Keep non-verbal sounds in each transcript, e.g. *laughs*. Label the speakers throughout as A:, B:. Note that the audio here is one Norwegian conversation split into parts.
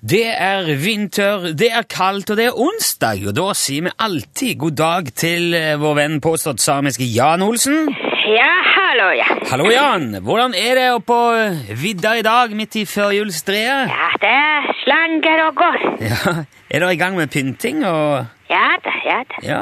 A: Det er vinter, det er kaldt, og det er onsdag, og da sier vi alltid god dag til eh, vår venn påstått samiske Jan Olsen.
B: Ja, hallo, ja.
A: Hallo, Jan! Hvordan er det oppå vidda i dag, midt i førjulstreet?
B: Ja, det er slanger og går.
A: Ja, er dere i gang med pynting og
B: Ja da, ja da.
A: Ja.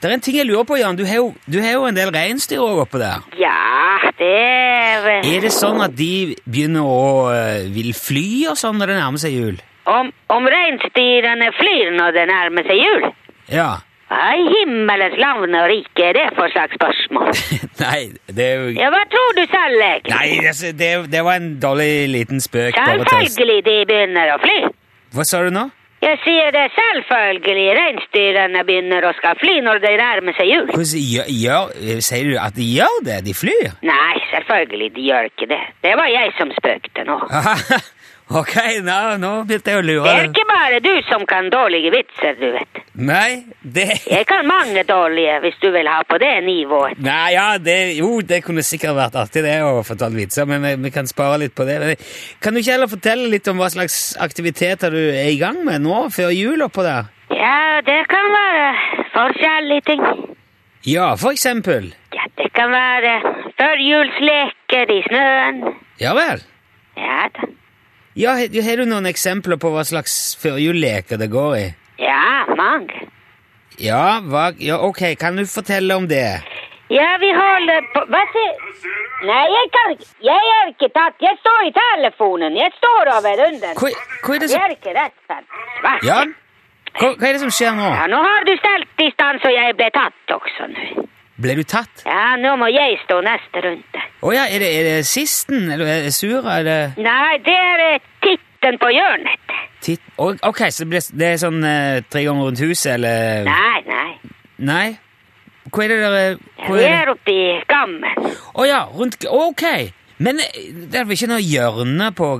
A: Det er en ting jeg lurer på, Jan. Du har jo, du har jo en del reinsdyr òg oppå der.
B: Ja, det er eh, vel-
A: Er det sånn at de begynner å eh, vil fly og sånn når det nærmer seg jul?
B: Om, om reinsdyrene flyr når det nærmer seg jul?
A: Ja. *laughs*
B: Hva i himmelens navn og rike er det for slags spørsmål?
A: Nei, det er jo
B: Ja, hva tror du selv, egentlig?
A: Nei, altså, det, det var en dårlig liten spøk. Bare tøys.
B: Selvfølgelig de begynner å fly.
A: Hva sa du nå?
B: Jeg sier det selvfølgelig reinsdyrene begynner å skal fly når det nærmer seg jul.
A: Hvordan gjør, gjør, sier du at de gjør det? De flyr? *laughs*
B: Nei, selvfølgelig de gjør ikke det. Det var jeg som spøkte nå.
A: ok, nå, nå begynte jeg å
B: Det
A: lure.
B: er ikke bare du som kan dårlige vitser, du vet.
A: Nei, det...
B: Jeg kan mange dårlige, hvis du vil ha på det nivået.
A: Nei, ja, det, jo, det kunne sikkert vært artig det å fortelle vitser, men vi, vi kan spare litt på det. Men, kan du ikke heller fortelle litt om hva slags aktiviteter du er i gang med nå, før jul oppå der?
B: Ja, det kan være forskjellige ting.
A: Ja, for eksempel.
B: Ja, det kan være førjulsleker i snøen.
A: Ja vel.
B: Ja da.
A: Ja, he- har du noen eksempler på hva slags førjulleker det går i?
B: Ja, mange.
A: Ja, hva, ja, ok, kan du fortelle om det?
B: Ja, vi holder på Hva sier Nei, jeg kan ikke Jeg er ikke tatt. Jeg står i telefonen. Jeg står over under.
A: Hva, hva er det
B: Jeg
A: som...
B: er ikke rett for svart.
A: Jan? Hva, hva er det som skjer nå?
B: Ja, nå har du stelt i stand, så jeg ble tatt også nå.
A: Ble du tatt?
B: Ja, nå må jeg stå neste runde.
A: Å ja, er det, er det sisten, eller er det sura, eller...
B: Nei, det er eh, titten på hjørnet.
A: Titt... Å, Ok, så det, blir, det er sånn eh, tre ganger rundt huset, eller...
B: Nei, nei.
A: Nei? Hva er det der... eh, Hva
B: Vi
A: er det?
B: er oppe i gammen.
A: Å ja, rundt... Ok, men eh, det er vel ikke noe hjørne på,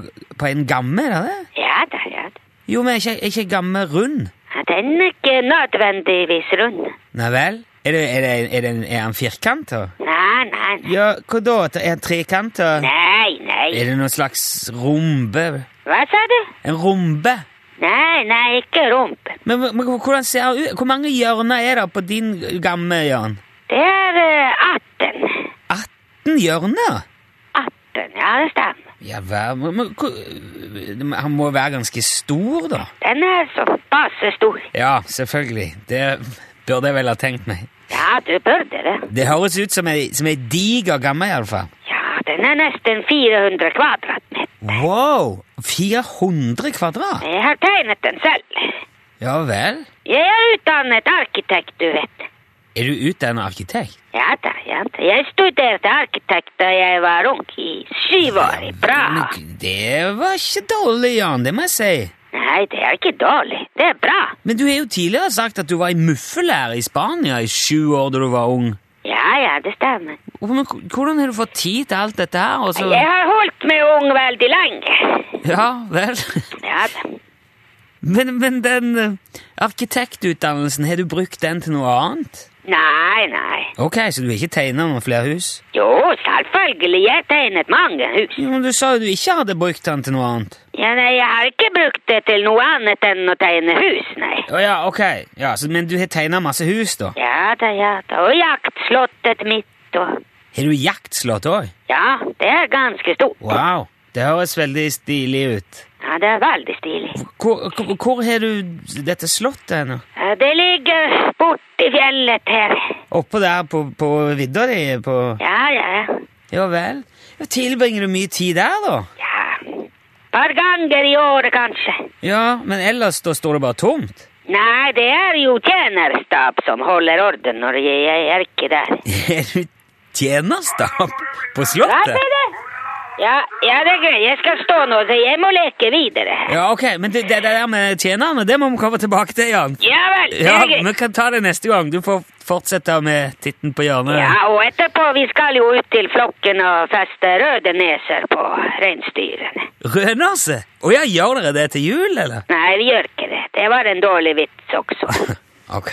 A: på en gamme, er det det?
B: Ja da, ja da.
A: Jo, men er ikke, er ikke gamme rund?
B: Ja, Den er ikke nødvendigvis rund.
A: Nei vel? Er det, er det, er det en, er han firkant, da?
B: Nei, nei, nei.
A: Ja, hva da? Er han trekant, da?
B: Nei, nei.
A: Er det noen slags rombe?
B: Hva sa du?
A: En rombe?
B: Nei, nei, ikke rumpen.
A: Men, men hvordan ser det ut? Hvor mange hjørner er det på din gamle hjørn?
B: Det er eh, 18.
A: 18 hjørner?
B: 18, ja, det stemmer.
A: Ja, hver, men, men, hvor- han må være ganske stor, da.
B: Den er så passe stor.
A: Ja, selvfølgelig. Det burde jeg vel ha tenkt meg.
B: Ja, du burde det.
A: Det høres ut som ei, som ei diger gamme, iallfall.
B: Ja, den er nesten 400 kvadratmeter.
A: Wow! 400 kvadrat?
B: Jeg har tegnet den selv.
A: Ja vel?
B: Jeg er utdannet arkitekt, du vet.
A: Er du utdannet arkitekt?
B: Ja da, ja da. Jeg studerte arkitekt da jeg var ung, i syv år i Praha.
A: Men Det var ikke dårlig, Jan. Det må jeg si.
B: Nei, det er ikke dårlig. Det er bra.
A: Men du har jo tidligere sagt at du var i muffelære i Spania i sju år da du var ung.
B: Ja, ja, det stemmer.
A: Men k- hvordan har du fått tid til alt dette her? Og så...
B: Jeg har holdt meg ung veldig lenge.
A: Ja, vel. *laughs*
B: Ja da.
A: Men, men den eh, arkitektutdannelsen, har du brukt den til noe annet?
B: Nei, nei.
A: Ok, så du har ikke tegna noen flere hus?
B: Jo, selvfølgelig, jeg tegnet mange hus.
A: Jo, men du sa jo du ikke hadde brukt den til noe annet.
B: Ja, nei, jeg har ikke brukt det til noe annet enn å tegne hus, nei.
A: Å ja, ok. Ja, så, men du har tegna masse hus, da?
B: Ja da, ja da. Og jaktslottet mitt og
A: Har du jaktslott òg?
B: Ja, det er ganske stort.
A: Wow. Det høres veldig stilig ut.
B: Ja, det er veldig stilig.
A: Hvor, hvor, hvor har du dette slottet nå?
B: Ja, Eh, Det ligger borti fjellet her.
A: Oppå der på, på vidda di? På...
B: Ja, ja.
A: Ja vel. Ja, Tilbringer du mye tid der, da?
B: ja. Par ganger i året, kanskje.
A: Ja, men ellers da står det bare tomt?
B: Nei, det er jo tjenerstab som holder orden når jeg, jeg er ikke der.
A: *laughs* Er du tjenerstab på
B: Hva
A: slottet?
B: sier du? Ja, ja, det er greit. Jeg skal stå nå, så jeg må leke videre.
A: Ja, ok, men det, det der med tjenerne, det må vi komme tilbake til, Jan.
B: Ja vel, det
A: Ja,
B: er greit.
A: Vi kan ta det neste gang. Du får fortsette med titten på hjørnet.
B: Ja, og etterpå vi skal jo ut til flokken og feste røde neser på reinsdyrene.
A: Rødnase? Å ja, gjør dere det til jul, eller?
B: Nei, vi gjør ikke det. Det
A: *laughs*
B: var en dårlig vits også.
A: Ok.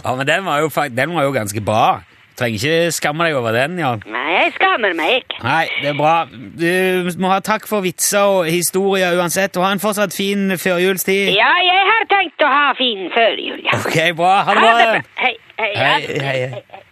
A: Ja, men den var jo, fak- den var jo ganske bra. Trenger ikke skamme deg over den, Jan.
B: Nei, jeg skammer meg ikke.
A: Nei, det er bra. Du må ha takk for vitser og historier uansett, og ha en fortsatt fin førjulstid.
B: Ja, jeg har tenkt å ha fin førjul, ja.
A: Ok, bra. Ha det
B: Ha det
A: bra.
B: bra. Hei, hei. ja.
A: Hei, hei, hei.
B: hei, hei.